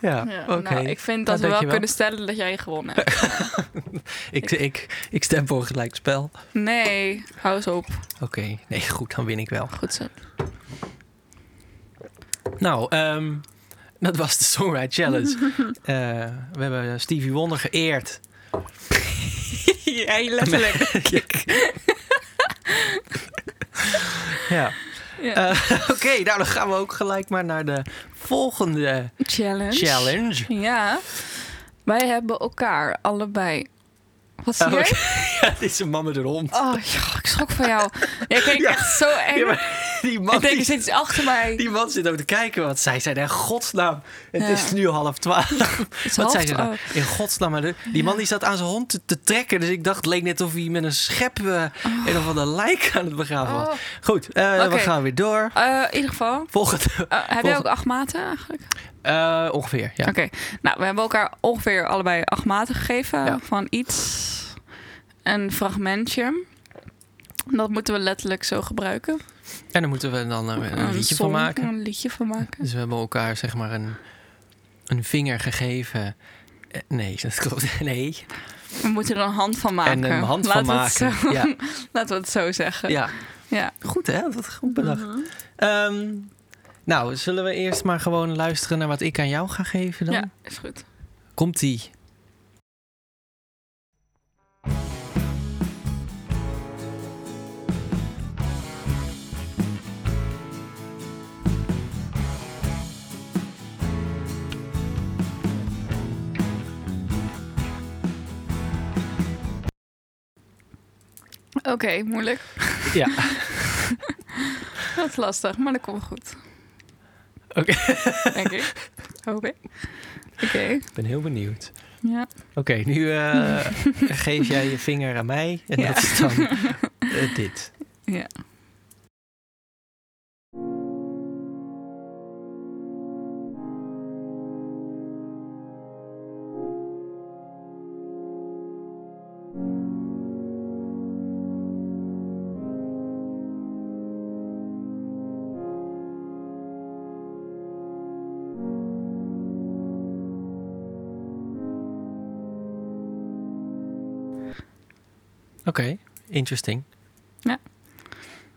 Ja,
Ja,
oké.
nou, ik vind dat we
Nou,
wel
dankjewel.
kunnen stellen dat jij gewonnen hebt.
ik, ik, ik stem voor gelijk spel.
Nee, hou eens op.
Oké, nee, goed, dan win ik wel.
Goed zo.
Nou, ehm, dat was de Songwriter Challenge. Eh, we hebben Stevie Wonder geëerd.
jij letterlijk.
Ja.
Ja.
Eh, oké, nou dan gaan we ook gelijk maar naar de volgende
Challenge.
challenge.
Ja. Wij hebben elkaar allebei... Wat zie
Oh,
jij?
oké. Ja, het is een man met een hond.
Oh, joh, ik schrok van jou. Jij keek
Ja.
echt zo eng.
Ja, maar die man
ik denk, dus-
die-
er zit iets achter mij.
Die man zit ook te kijken, want zij zei in godsnaam, het
Ja.
is nu half twaalf.
is
Wat
half
zei ze nou?
twaalf.
In godsnaam, maar de- die man die zat aan zijn hond te, te trekken. Dus ik dacht, het leek net of hij met een schep eh een of ander lijk aan het begraven was.
Oh.
Goed, eh, we
Oké.
gaan weer door.
Eh, in ieder geval,
Volgende.
eh, heb jij
Volgende.
ook acht maten eigenlijk?
Eh, ongeveer, ja.
Oké, nou, we hebben elkaar ongeveer allebei acht maten gegeven
Ja.
van iets. Een fragmentje. Dat moeten we letterlijk zo gebruiken.
En dan moeten we dan eh, een liedje
song,
van maken.
Een liedje van maken.
Dus we hebben elkaar zeg maar een, een vinger gegeven. Eh, Nee, dat klopt. Nee.
We moeten er een hand van maken.
En een hand
Laten
van
we het
maken.
zo-
Ja,
Laten we het zo zeggen.
ja.
Ja.
Goed hè, dat is goed bedacht. Ehm, nou, zullen we eerst maar gewoon luisteren naar wat ik aan jou ga geven dan?
ja, is goed.
Komt-ie.
Oké, moeilijk.
Ja.
Dat is lastig, maar dat komt goed.
Oké.
Denk ik. Hoop ik. Oké,
Ik ben heel benieuwd.
ja.
Oké, nu eh, geef jij je vinger aan mij en
Ja.
dat is dan eh, dit. Oké, interesting.
Ja.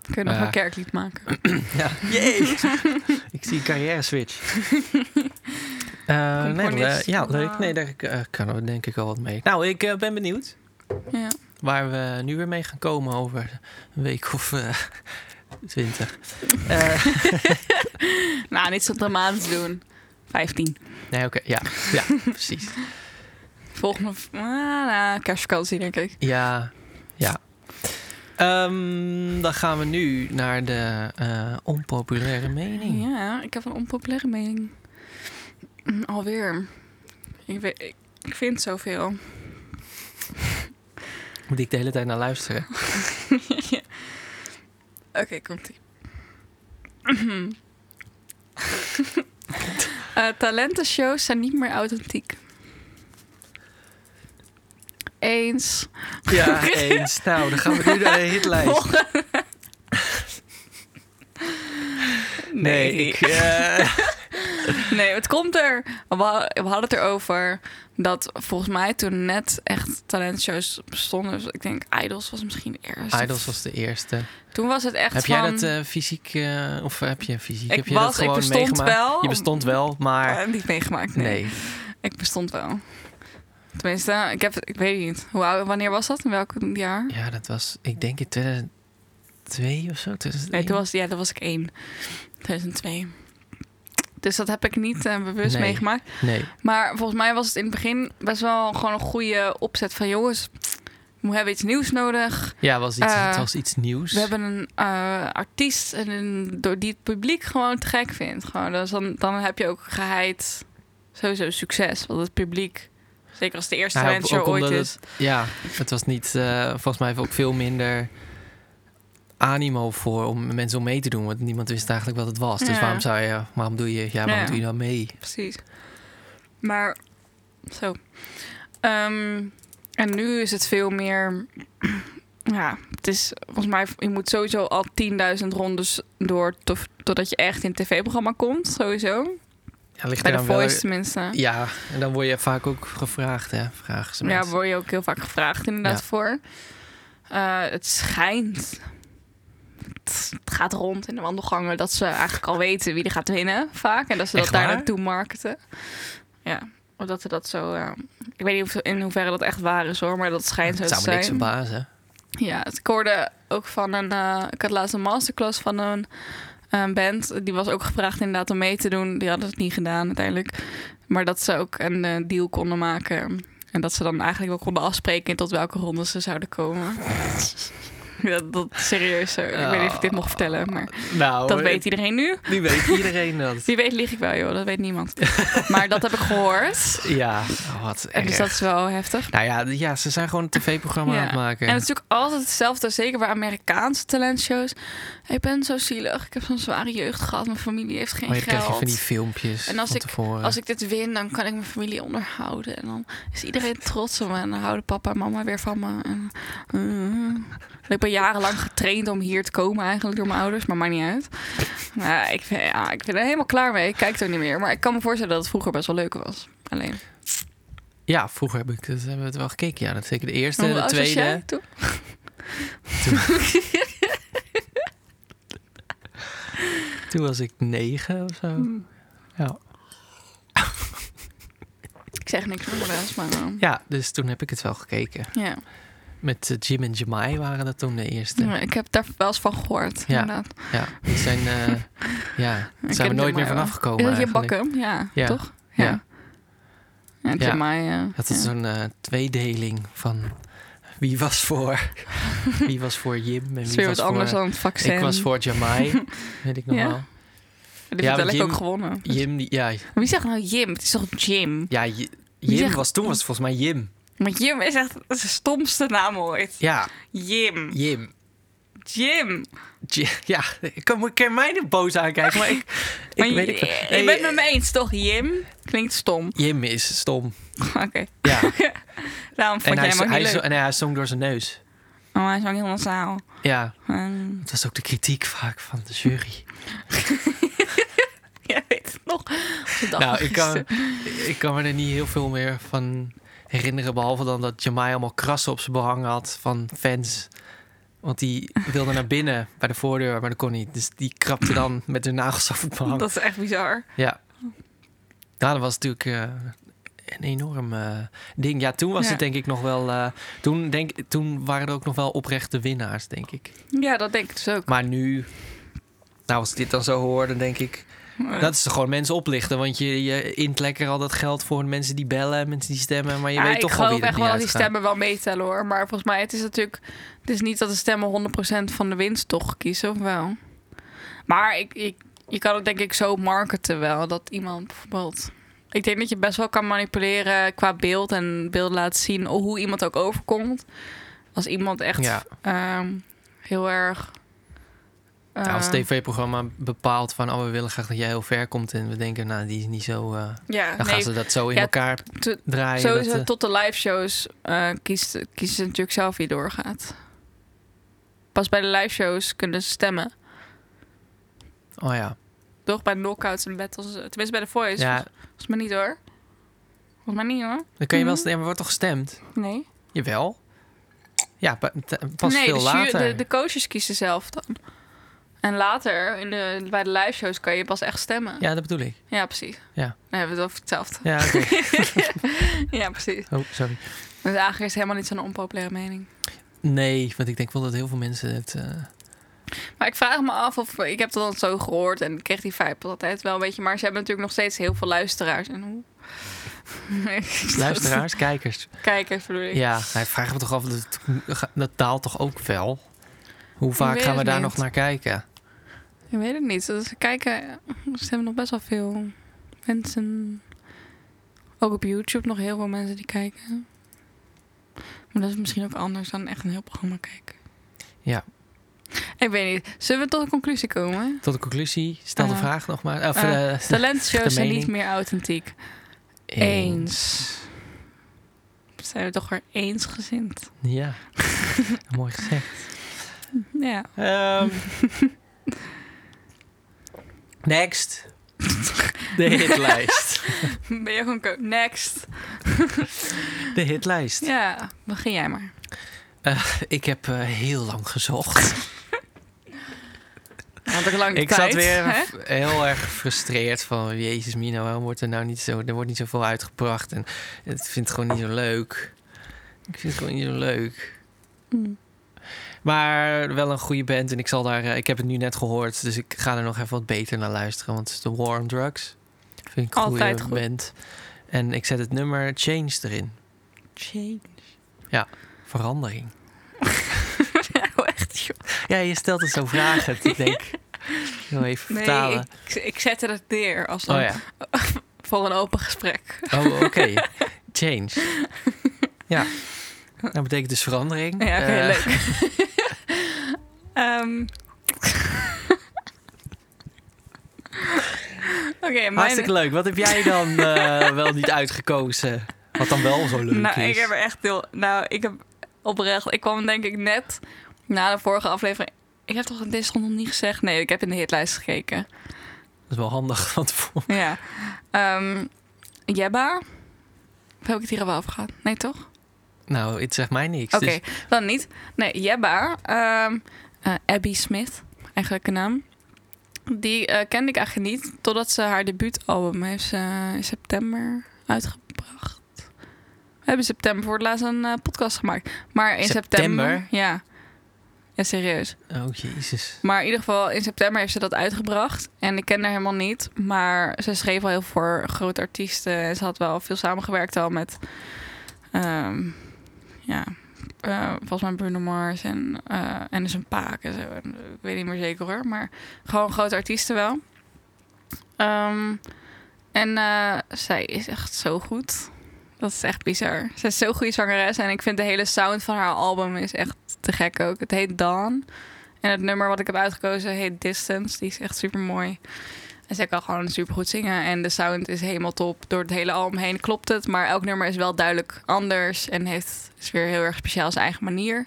Kun je nog
Ja.
een kerklied maken?
Ja. ik zie carrière switch. Eh, nee,
Componist.
eh, ja,
Nou.
leuk. Nee, daar eh, kunnen we denk ik al wat mee. Nou, ik eh, ben benieuwd
Ja.
waar we nu weer mee gaan komen over een week of eh, twintig. Eh,
Nou, niet zo dramatisch doen. 15.
nee, oké. ja. ja, precies.
Volgende ah, nou, kerstvakantie, denk ik.
Ja, ja. Ehm, dan gaan we nu naar de eh, onpopulaire mening.
Ja, ik heb een onpopulaire mening. Mm, Alweer. Ik, weet, ik, ik vind zoveel.
Moet ik de hele tijd naar luisteren?
Ja. Oké, komt ie. Eh, talentenshows zijn niet meer authentiek. Eens.
Ja, eens. Nou, dan gaan we nu naar de hitlijst.
Volgende.
Nee, ik... eh,
Nee, het komt er. We ha- we hadden het erover dat volgens mij toen net echt talentshows bestonden. Dus ik denk Idols was misschien eerst.
Idols was de eerste.
Toen was het echt
heb
van...
jij dat eh, fysiek... eh, of heb je fysiek?
Ik
heb je dat
was- ik
gewoon
bestond
meegemaakt?
wel.
Je bestond wel, maar...
eh, niet meegemaakt. Nee.
Nee.
Ik bestond wel. Tenminste, ik, heb, ik weet niet. Hoe, oud- wanneer was dat? In welk jaar?
Ja, dat was... Ik denk in 2002 of zo. 2001.
Nee, toen was, ja, toen was ik één. 2002. Dus dat heb ik niet eh, bewust
Nee.
meegemaakt.
Nee.
Maar volgens mij was het in het begin best wel gewoon een goede opzet van jongens, we hebben iets nieuws nodig.
Ja, was iets,
Eh,
het was iets nieuws.
We hebben een eh, artiest en een, door die het publiek gewoon te gek vindt. Gewoon, dus dan, dan heb je ook geheid sowieso succes. Want het publiek, zeker als de eerste
Ja, ook-
talent show
Nou, ook
ooit
omdat
is.
Ja, het was niet, eh, volgens mij ook veel minder animo voor om mensen om mee te doen, want niemand wist eigenlijk wat het was. Dus
Ja.
waarom zou je, waarom doe je, ja, waarom
Ja.
doe je dan mee?
Precies. Maar zo. Ehm, en nu is het veel meer. Ja, het is volgens mij. Je moet sowieso al 10.000 rondes door. tof- totdat je echt in het tv-programma komt, sowieso.
Ja, ligt
Bij de
eraan wel-
Voice, tenminste.
Ja, en dan word je vaak ook gevraagd, hè? Vragen ze
Ja,
mensen.
word je ook heel vaak gevraagd, inderdaad,
Ja.
voor. Eh, het schijnt. Het het gaat rond in de wandelgangen dat ze eigenlijk al weten wie er gaat winnen, vaak. En dat ze dat
Echt
daar
waar?
naartoe marketen. Ja, omdat ze dat zo. eh, ik weet niet of, in hoeverre dat echt waar is hoor, maar dat schijnt zo
Het
te
zou me niks
zijn.
verbazen.
Ja, het- ik hoorde ook van een. eh, ik had laatst een masterclass van een, een band. Die was ook gevraagd inderdaad om mee te doen. Die hadden het niet gedaan uiteindelijk. Maar dat ze ook een eh, deal konden maken. En dat ze dan eigenlijk wel konden afspreken tot welke ronde ze zouden komen. Ja, dat serieus. zo. Ik weet niet of ik dit mocht vertellen, maar
Nou,
dat weet iedereen nu.
nu weet iedereen dat.
Wie weet lieg ik wel, joh. Dat weet niemand. Maar dat heb ik gehoord.
Ja, oh, wat
En
erg.
dus dat is wel heftig.
Nou ja, d- ja, ze zijn gewoon een tv-programma aan het maken.
En het is natuurlijk altijd hetzelfde, zeker bij Amerikaanse talentshows. Ik ben zo zielig, ik heb zo'n zware jeugd gehad, mijn familie heeft geen
maar je krijgt je
geld.
van die filmpjes
En als
van
ik-
tevoren.
Als ik dit win, dan kan ik mijn familie onderhouden. En dan is iedereen trots op me. En dan houden papa en mama weer van me. En, eh, ik ben jarenlang getraind om hier te komen eigenlijk door mijn ouders. Maar maakt niet uit. Maar ik, vind- ja, ik ben er helemaal klaar mee. Ik kijk er niet meer. Maar ik kan me voorstellen dat het vroeger best wel leuk was. Alleen.
Ja, vroeger heb ik, dat hebben we het wel gekeken. Ja, dat zeker de eerste,
Hoe
de
oud was
tweede.
jij toen?
Toen was ik negen of zo.
Hmm.
Ja.
Ik zeg niks meer voor de rest, maar... eh,
ja, dus toen heb ik het wel gekeken.
ja.
Met eh, Jim en Jamai waren dat toen de eerste.
Ja, ik heb daar wel eens van gehoord.
Ja.
inderdaad.
Ja, die zijn, eh, ja, daar zijn we
ken
nooit meer
Jamai
vanaf
wel.
gekomen
Is dat je
eigenlijk.
bakken? Ja,
Ja.
toch?
Ja.
Ja,
Ja.
Jamai, eh,
Dat is
ja.
zo'n eh, tweedeling van wie was voor, wie was voor Jim en wie
Het is weer
was
wat anders
voor...
dan het vaccin.
Ik was voor Jamai, weet ik nog
Ja.
wel.
Die
Ja,
heeft
want
wel
Jim-
ook gewonnen.
Jim, die, ja,
Wie zegt nou Jim? Het is toch Jim?
ja J-
Wie
Jim
zegt-
was, toen was het volgens mij Jim.
Maar Jim is echt de stomste naam ooit.
Ja,
Jim.
Jim.
Jim.
J- Ja, ik kan, ik kan mij er boos aankijken, maar ik, ik
Maar
weet
je,
het eh,
je bent
wel. Nee,
het met me eens, toch? Jim? Klinkt stom.
Jim is stom.
Oké.
Ja,
Daarom vond jij
en hij,
hem ook
hij,
niet
zo-
leuk.
en hij zong door zijn neus.
Oh, hij is ook heel massaal.
Ja,
Ehm,
dat was ook de kritiek vaak van de jury.
jij weet het nog. Ze dachten
nou, ik kan,
gisteren.
ik kan me er niet heel veel meer van herinneren. Behalve dan dat Jamai allemaal krassen op zijn behang had van fans. Want die wilde naar binnen bij de voordeur, maar dat kon niet. Dus die krapte dan met de nagels af het behang.
Dat is echt bizar.
Ja. Nou, dat was natuurlijk eh, een enorm eh, ding. Ja, toen was
Ja.
het denk ik nog wel... eh, toen, denk, toen waren er ook nog wel oprechte winnaars, denk ik.
Ja, dat denk ik dus ook.
Maar nu... Nou, als ik dit dan zo hoor, dan denk ik... Dat is gewoon mensen oplichten. Want je, je int lekker al dat geld voor mensen die bellen, mensen die stemmen. Maar je
Ja,
weet
ik
toch wel
geloof
wie er
echt
niet
wel dat die
uitgaat.
stemmen wel meetellen hoor. Maar volgens mij, het is natuurlijk... Het is niet dat de stemmen 100% van de winst toch kiezen, of wel? Maar ik, ik, je kan het denk ik zo marketen wel. Dat iemand bijvoorbeeld... Ik denk dat je best wel kan manipuleren qua beeld. En beeld laat zien hoe iemand ook overkomt. Als iemand echt
Ja.
ehm, heel erg...
Nou, als
eh,
het tv-programma bepaalt van... oh, we willen graag dat jij heel ver komt. En we denken, nou, die is niet zo... eh,
ja,
dan
nee,
gaan ze dat zo in
Ja,
elkaar
te-
draaien. dat,
Sowieso
eh,
tot de live shows eh, kiest, kiezen ze natuurlijk zelf wie doorgaat. Pas bij de live shows kunnen ze stemmen.
oh ja.
Toch bij knockouts en battles. eh, Tenminste bij de voice.
ja,
Volgens volgens mij niet hoor. Volgens mij niet hoor.
dan kun je wel stemmen. maar wordt toch gestemd?
Nee.
Jawel. Ja, pa- t- pas
nee,
veel
de, jury-
later.
de, de coaches kiezen zelf dan. En later in de, bij de live shows kan je pas echt stemmen. Ja,
Ja, dat bedoel ik.
precies.
Ja.
Dan hebben we het over hetzelfde.
Ja, oké.
ja, precies.
Oh, sorry.
Dus eigenlijk is het helemaal niet zo'n onpopulaire mening.
Nee, want ik denk wel dat heel veel mensen het... eh,
Maar ik vraag me af of ik heb dat dan zo gehoord en ik kreeg die vibe altijd wel een beetje, maar ze hebben natuurlijk nog steeds heel veel luisteraars en hoe.
luisteraars, kijkers.
Kijkers bedoel ik.
Ja, hij vraagt me toch af, dat, dat daalt toch ook wel? Hoe vaak
weet
gaan we
het
daar
niet.
nog naar kijken?
Ik weet het niet. Dus kijken, ze hebben nog best wel veel mensen. Ook op YouTube nog heel veel mensen die kijken. Maar dat is misschien ook anders dan echt een heel programma kijken.
Ja.
Ik weet niet. Zullen we tot een conclusie komen?
Tot de conclusie, stel de
Eh,
vraag nog maar. Of,
eh,
eh,
Talentshows zijn niet
mening.
meer authentiek. Eens. Zijn we toch weer eensgezind?
Ja, mooi gezegd.
Ja.
Ehm, next. De hitlijst.
Ben je gewoon ko- next?
De hitlijst.
Ja, begin jij maar.
Ik heb eh, heel lang gezocht.
Want ik lang de
Ik
tijd,
zat weer
hè?
heel erg gefrustreerd van... Jezus Mino, waarom wordt er nou niet zo... Er wordt niet zoveel uitgebracht. En het vind het gewoon niet zo leuk. Ik vind het gewoon niet zo leuk.
Mm.
Maar wel een goede band. En ik zal daar... eh, ik heb het nu net gehoord. Dus ik ga er nog even wat beter naar luisteren. Want het is de War on Drugs. Vind ik een
Altijd
goede
goed.
band. En ik zet het nummer Change erin.
Change.
Verandering.
Nou, echt, joh.
Ja, je stelt het zo vragen. Ik denk... Ik wil even
Nee,
vertalen.
ik, ik zette het neer als een,
Oh ja.
voor een open gesprek.
Oh, oké. Change. Ja. Dat betekent dus verandering.
Ja, oké,
Eh,
leuk. Ehm. Oké, mijn...
Hartstikke leuk. Wat heb jij dan eh, wel niet uitgekozen? Wat dan wel zo leuk
nou,
is?
ik heb er echt heel. Nou, ik heb oprecht. Ik kwam denk ik net na de vorige aflevering. Ik heb toch een Discord nog niet gezegd? Nee, ik heb in de hitlijst gekeken.
Dat is wel handig. Want voor...
Ja. Ehm Jebba. Of heb ik het hier al wel over gehad? Nee, toch?
Nou, het zegt mij niks.
Oké,
dus-
dan niet. Nee, Jebba. ehm, eh, Abby Smith, eigenlijk een naam. Die eh, kende ik eigenlijk niet, totdat ze haar debuutalbum heeft ze in september uitgebracht. We hebben in september voor het laatst een eh, podcast gemaakt. Maar in september?
September?
Ja. Ja, serieus.
Oh, jezus.
Maar in ieder geval, in september heeft ze dat uitgebracht. En ik ken haar helemaal niet. Maar ze schreef al heel veel voor grote artiesten. En ze had wel veel samengewerkt al met... ehm, ja, eh, volgens mij Bruno Mars en, eh en dus een paak en zo. En eh, Ik weet niet meer zeker hoor. Maar gewoon grote artiesten wel. Ehm, en eh, zij is echt zo goed. Dat is echt bizar. Ze is zo'n goede zangeres. En ik vind de hele sound van haar album is echt te gek ook. Het heet Dawn. En het nummer wat ik heb uitgekozen heet Distance. Die is echt super mooi. En zij kan gewoon super goed zingen. En de sound is helemaal top. Door het hele album heen klopt het. Maar elk nummer is wel duidelijk anders. En heeft, is weer heel erg speciaal zijn eigen manier.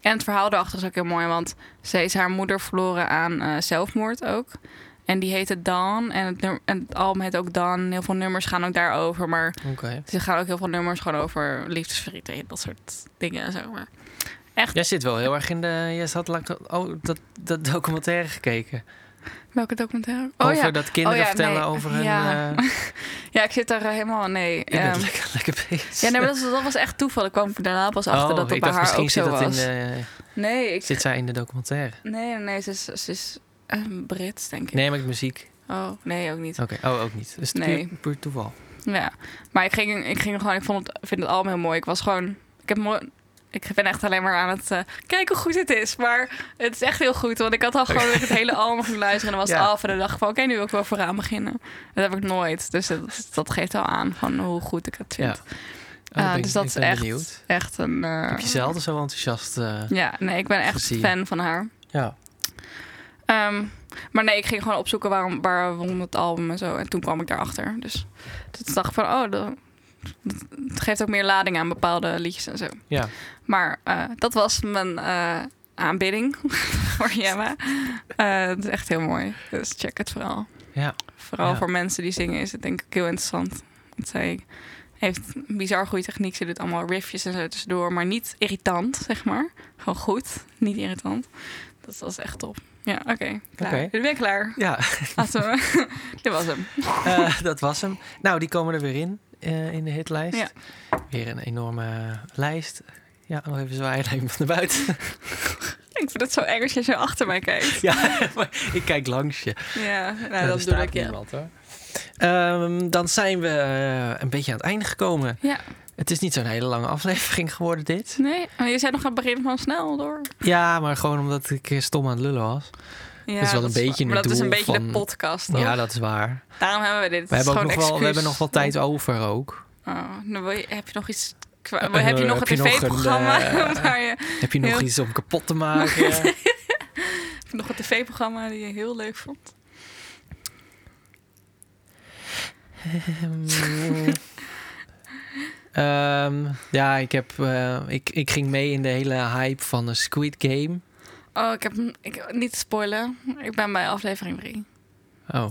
En het verhaal daarachter is ook heel mooi. Want ze is haar moeder verloren aan eh, zelfmoord ook. En die heette Dawn. En het, nummer, en het album heet ook Dawn. En Heel veel nummers gaan ook daarover. Maar
Oké.
ze gaan ook heel veel nummers gewoon over liefdesverdriet en dat soort dingen en zo. Maar. Echt?
Jij zit wel heel erg in de... Jij had lang, oh, dat, dat documentaire gekeken.
Welke documentaire?
over dat kinderen
Oh ja,
vertellen
nee.
over hun...
Ja.
eh,
Ja, ik zit daar eh, helemaal... Nee.
je bent
ehm,
lekker, lekker bezig.
ja, nee, maar dat, was- dat was echt toeval. Ik kwam daarna pas achter
Oh,
dat dat
ik
bij
dacht
haar
misschien
ook
zit
zo was.
dat In de,
Nee, ik,
zit zij in de documentaire.
nee, nee, nee, ze is, ze is eh, Brits, denk ik.
Nee, maar ik muziek.
Oh, nee, ook niet.
Oké, oh, ook niet. Dus
Nee.
nee. puur, puur toeval.
Ja. Maar ik ging, ik ging gewoon... Ik vond het, vind het allemaal heel mooi. Ik was gewoon... Ik heb mooi... Ik ben echt alleen maar aan het eh, kijken hoe goed het is. Maar het is echt heel goed. Want ik had al gewoon het hele album ging luisteren. En dan was
Ja.
het af. En dan dacht ik van, oké, nu wil ik wel vooraan beginnen. Dat heb ik nooit. Dus dat, dat geeft al aan van hoe goed ik het
Ja.
vind.
Oh, dan
Eh,
ben ik-
dus dat
ik
is
ben
echt,
benieuwd.
echt een... eh,
Heb je zelden zo enthousiast... eh,
Ja, nee, ik ben echt
gezien?
fan van haar.
ja.
Ehm, maar nee, ik ging gewoon opzoeken waarom, waarom het album en zo. En toen kwam ik daarachter. Dus toen dacht ik van, oh, dat, het geeft ook meer lading aan bepaalde liedjes en zo.
ja.
Maar eh, dat was mijn eh aanbidding voor Jemma. Eh, het is echt heel mooi. Dus check het vooral.
Ja.
Vooral
Ja.
voor mensen die zingen is het denk ik heel interessant. Want zij heeft een bizar goede techniek. Ze doet allemaal riffjes en zo tussendoor. Maar niet irritant, zeg maar. Gewoon goed. Niet irritant. Dus dat is echt top. Ja, oké. klaar.
Oké.
Ik ben ik klaar.
Ja,
Laten we... Dit was hem.
eh, dat was hem. Nou, die komen er weer in, eh, in de hitlijst.
Ja.
Weer een enorme lijst. Ja, nog even zwaaien even van de buiten.
Ik vind het zo eng als je zo achter mij kijkt.
ja, maar ik kijk langs je.
Ja, nou,
Nou,
dat
er
doe
staat
ik, ja.
niemand, hoor. Ehm, dan zijn we eh, een beetje aan het einde gekomen.
Ja.
Het is niet zo'n hele lange aflevering geworden, dit.
Nee, maar je zei nog aan het begin van snel door.
Ja, maar gewoon omdat ik eh, stom aan het lullen was.
Ja,
Dat is wel een beetje
waar.
het
Maar dat is een
doel
beetje de
van-
podcast. toch?
Ja, dat is waar.
Daarom hebben we dit. Het
We
is
hebben, ook
gewoon
nog
een
wel, we hebben nog
excuus.
wel tijd over ook.
Oh, dan wil je- heb je nog iets. Kwa,
Eh,
heb je nog
heb
een
je nog een,
tv-programma?
eh,
waar je-
Heb je nog
Heel-
iets om kapot te maken?
heb je nog een tv-programma die je heel leuk vond?
Ehm, ehm, ja, ik, heb, eh, ik, ik ging mee in de hele hype van de Squid Game.
Oh, ik heb ik, niet te spoilen. Ik ben bij aflevering 3.
Oh.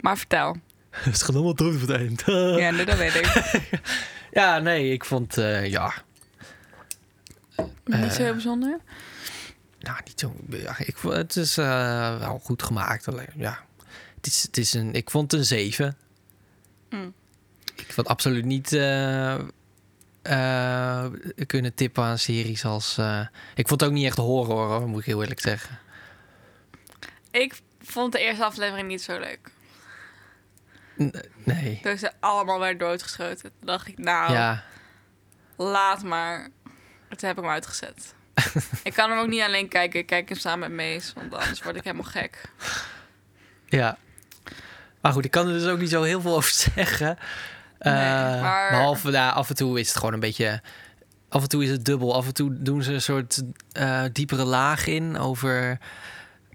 Maar vertel.
Het is allemaal dood op het eind.
Ja, nee, dat weet ik.
Ja, nee, ik vond, eh, ja,
niet
Eh.
zo heel bijzonder.
nou, niet zo. Ja, ik, vond- het is eh, wel goed gemaakt. Alleen, ja, het is, het is een, ik vond het een 7.
Mm.
Ik vond absoluut niet eh, eh, kunnen tippen aan series als. eh, ik vond het ook niet echt horror, hoor, moet ik heel eerlijk zeggen.
Ik vond de eerste aflevering niet zo leuk.
N- nee.
Toen ze allemaal werden doodgeschoten. Toen dacht ik, nou,
Ja,
laat maar. Toen heb ik hem uitgezet. ik kan hem ook niet alleen kijken. Ik kijk hem samen met Mees, want anders word ik helemaal gek.
ja. Maar goed, ik kan er dus ook niet zo heel veel over zeggen. Eh,
Nee, maar-
Behalve ja, af en toe is het gewoon een beetje. Af en toe is het dubbel. Af en toe doen ze een soort eh, diepere laag in over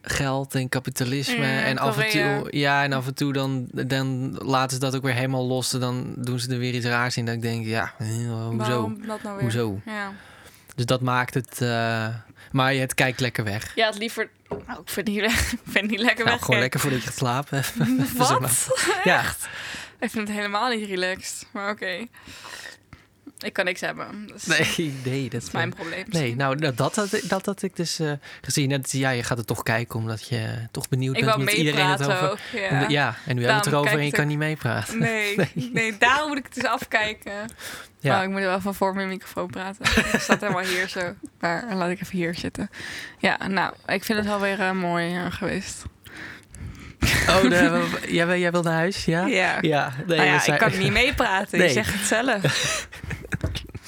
geld en kapitalisme.
Ja,
en af en
Mm, Korea.
toe. Ja, en af en toe dan, dan laten ze dat ook weer helemaal los. En dan doen ze er weer iets raars in. Dat ik denk, ja, eh, hoezo?
Waarom dat nou weer?
Hoezo?
Ja.
Dus dat maakt het. eh, maar het kijkt lekker weg.
Ja, het liever... Nou, ik vind het niet, ik vind het niet lekker
Nou,
weg.
gewoon lekker voordat je gaat slapen. zeg maar.
Wat?
Ja.
ik vind het helemaal niet relaxed. Maar oké. Ik kan niks hebben. Dus Dat
Nee, nee, dat
is mijn probleem.
Nee, nou dat, dat, had ik- dat had ik dus eh, gezien. Net, ja, je gaat het toch kijken omdat je toch benieuwd
ik
bent
wou
hoe het iedereen het
meepraten
over.
ook. Ja.
Ja. en nu hebben we het
Daarom
erover
kijk
en je
ik
kan niet meepraten.
Nee, nee. daarom moet ik het dus afkijken.
Ja.
Nou, ik moet er wel van voor mijn microfoon praten. Ik zat helemaal hier zo. Maar laat ik even hier zitten. Ja, nou, ik vind het wel weer eh, mooi eh, geweest.
Oh, de- jij, wil- jij wil naar huis? Ja.
Ja.
Ja, nee,
nou
we
ja,
zijn-
ik kan niet meepraten.
Nee.
Je zegt het zelf.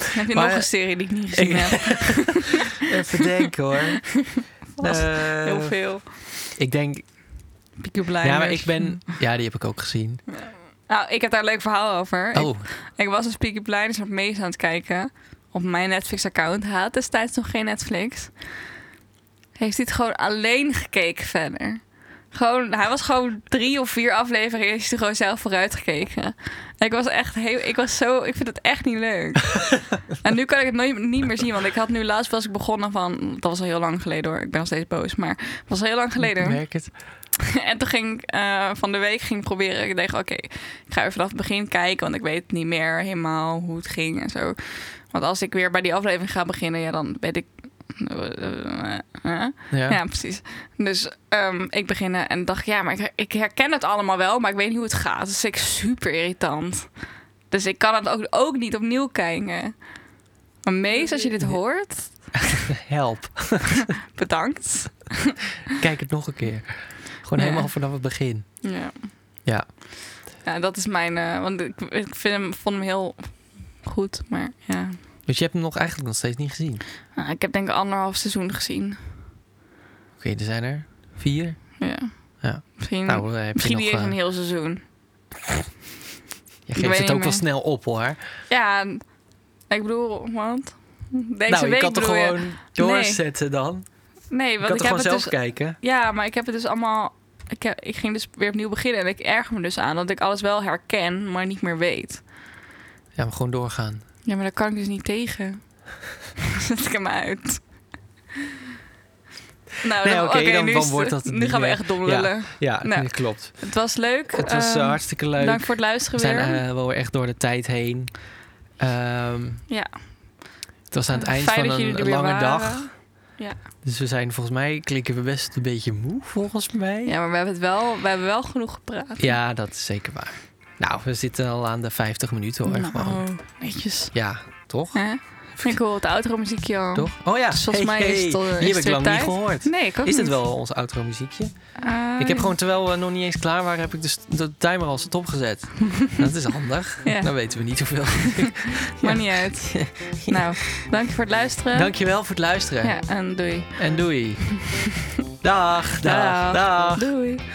heb je
Maar-
nog een serie die ik niet gezien
Ik-
heb?
Even denken hoor.
Vast.
Eh,
Heel veel.
ik denk,
Peaky Blinders.
ja, maar ik ben, ja, die heb ik ook gezien.
Nou, ik heb daar een leuk verhaal over. Ik-
Oh,
Ik was dus Peaky Blinders op Mees aan het kijken. Op mijn Netflix-account. Hij had destijds nog geen Netflix. Heeft hij het gewoon alleen gekeken verder. Gewoon, hij was gewoon drie of vier afleveringen heeft hij er gewoon zelf vooruit gekeken. En ik was echt heel, ik was zo, ik vind het echt niet leuk. en nu kan ik het nooit, niet meer zien, want ik had nu laatst was ik begonnen van, dat was al heel lang geleden hoor, ik ben nog steeds boos, maar het was al heel lang
ik
geleden.
merk het.
En toen ging ik eh, van de week ging ik proberen. Ik dacht, oké, ik ga even vanaf het begin kijken. Want ik weet niet meer helemaal hoe het ging en zo. Want als ik weer bij die aflevering ga beginnen, ja, dan weet ik Huh?
Ja.
Ja. precies. Dus ehm, ik begin eh, en dacht, ja, maar ik, ik herken het allemaal wel, maar ik weet niet hoe het gaat. Dus ik super irritant. Dus ik kan het ook, ook niet opnieuw kijken. Maar Mees, als je dit hoort,
Help.
bedankt.
Kijk het nog een keer. Gewoon
Ja.
helemaal vanaf het begin.
Ja.
Ja.
Ja, dat is mijn. eh, want ik, ik vind hem, vond hem heel goed, maar ja.
Dus je hebt hem nog eigenlijk nog steeds niet gezien. Oké,
Nou, ik heb denk ik anderhalf seizoen gezien.
er zijn er vier.
Ja.
Ja.
Misschien,
Nou, eh, heb je
misschien
nog...
niet eens
eh,
een heel seizoen.
je
weet
geeft het
niet
ook wel
meer.
snel op, hoor.
Ja, en- ik bedoel, want deze
nou, je
week
kan toch
bedoel je-
gewoon doorzetten dan?
Nee,
Je
want
kan
ik
toch
heb
gewoon
het
zelf
dus...
kijken?
Ja, maar ik heb het dus allemaal... Ik, heb- ik ging dus weer opnieuw beginnen en ik erger me dus aan dat ik alles wel herken, maar niet meer weet.
Ja, maar gewoon doorgaan.
Ja, maar daar kan ik dus niet tegen. Zet ik hem uit. Nou,
Nee,
dan-
oké, dan-
nu
dan
is-
wordt dat het
Nu
niet
gaan we
meer.
echt dom lullen.
Ja,
Nou.
dat klopt.
Het was leuk.
Het was eh,
Ehm,
hartstikke leuk.
Dank voor het luisteren
We zijn
weer.
eh, wel echt door de tijd heen. Ehm,
ja.
het was aan het
Eh,
eind
fijn
van
dat jullie
een,
er weer
lange
waren.
dag.
Ja.
Dus we zijn volgens mij, klinken we best een beetje moe, volgens mij.
Ja, maar we hebben, het wel, we hebben wel genoeg gepraat.
Ja, dat is zeker waar. Nou, we zitten al aan de 50 minuten hoor. Gewoon.
nou, netjes.
Ja, toch?
Hè? Ik hoor het outro muziekje al.
Toch? Oh ja,
Dus volgens mij is het al- is
die heb
het
ik
weer
lang
tijd?
niet gehoord.
Nee, ik ook
Is dit
niet.
wel ons outro muziekje?
Eh,
Ik heb gewoon, terwijl we nog niet eens klaar waren, heb ik dus de timer al stop gezet. dat is handig.
Ja.
Dan weten we niet hoeveel.
Maakt niet uit. Nou, dank je voor het luisteren.
Dankjewel voor het luisteren.
Ja, en doei.
En doei. dag, dag, dag.
Doei.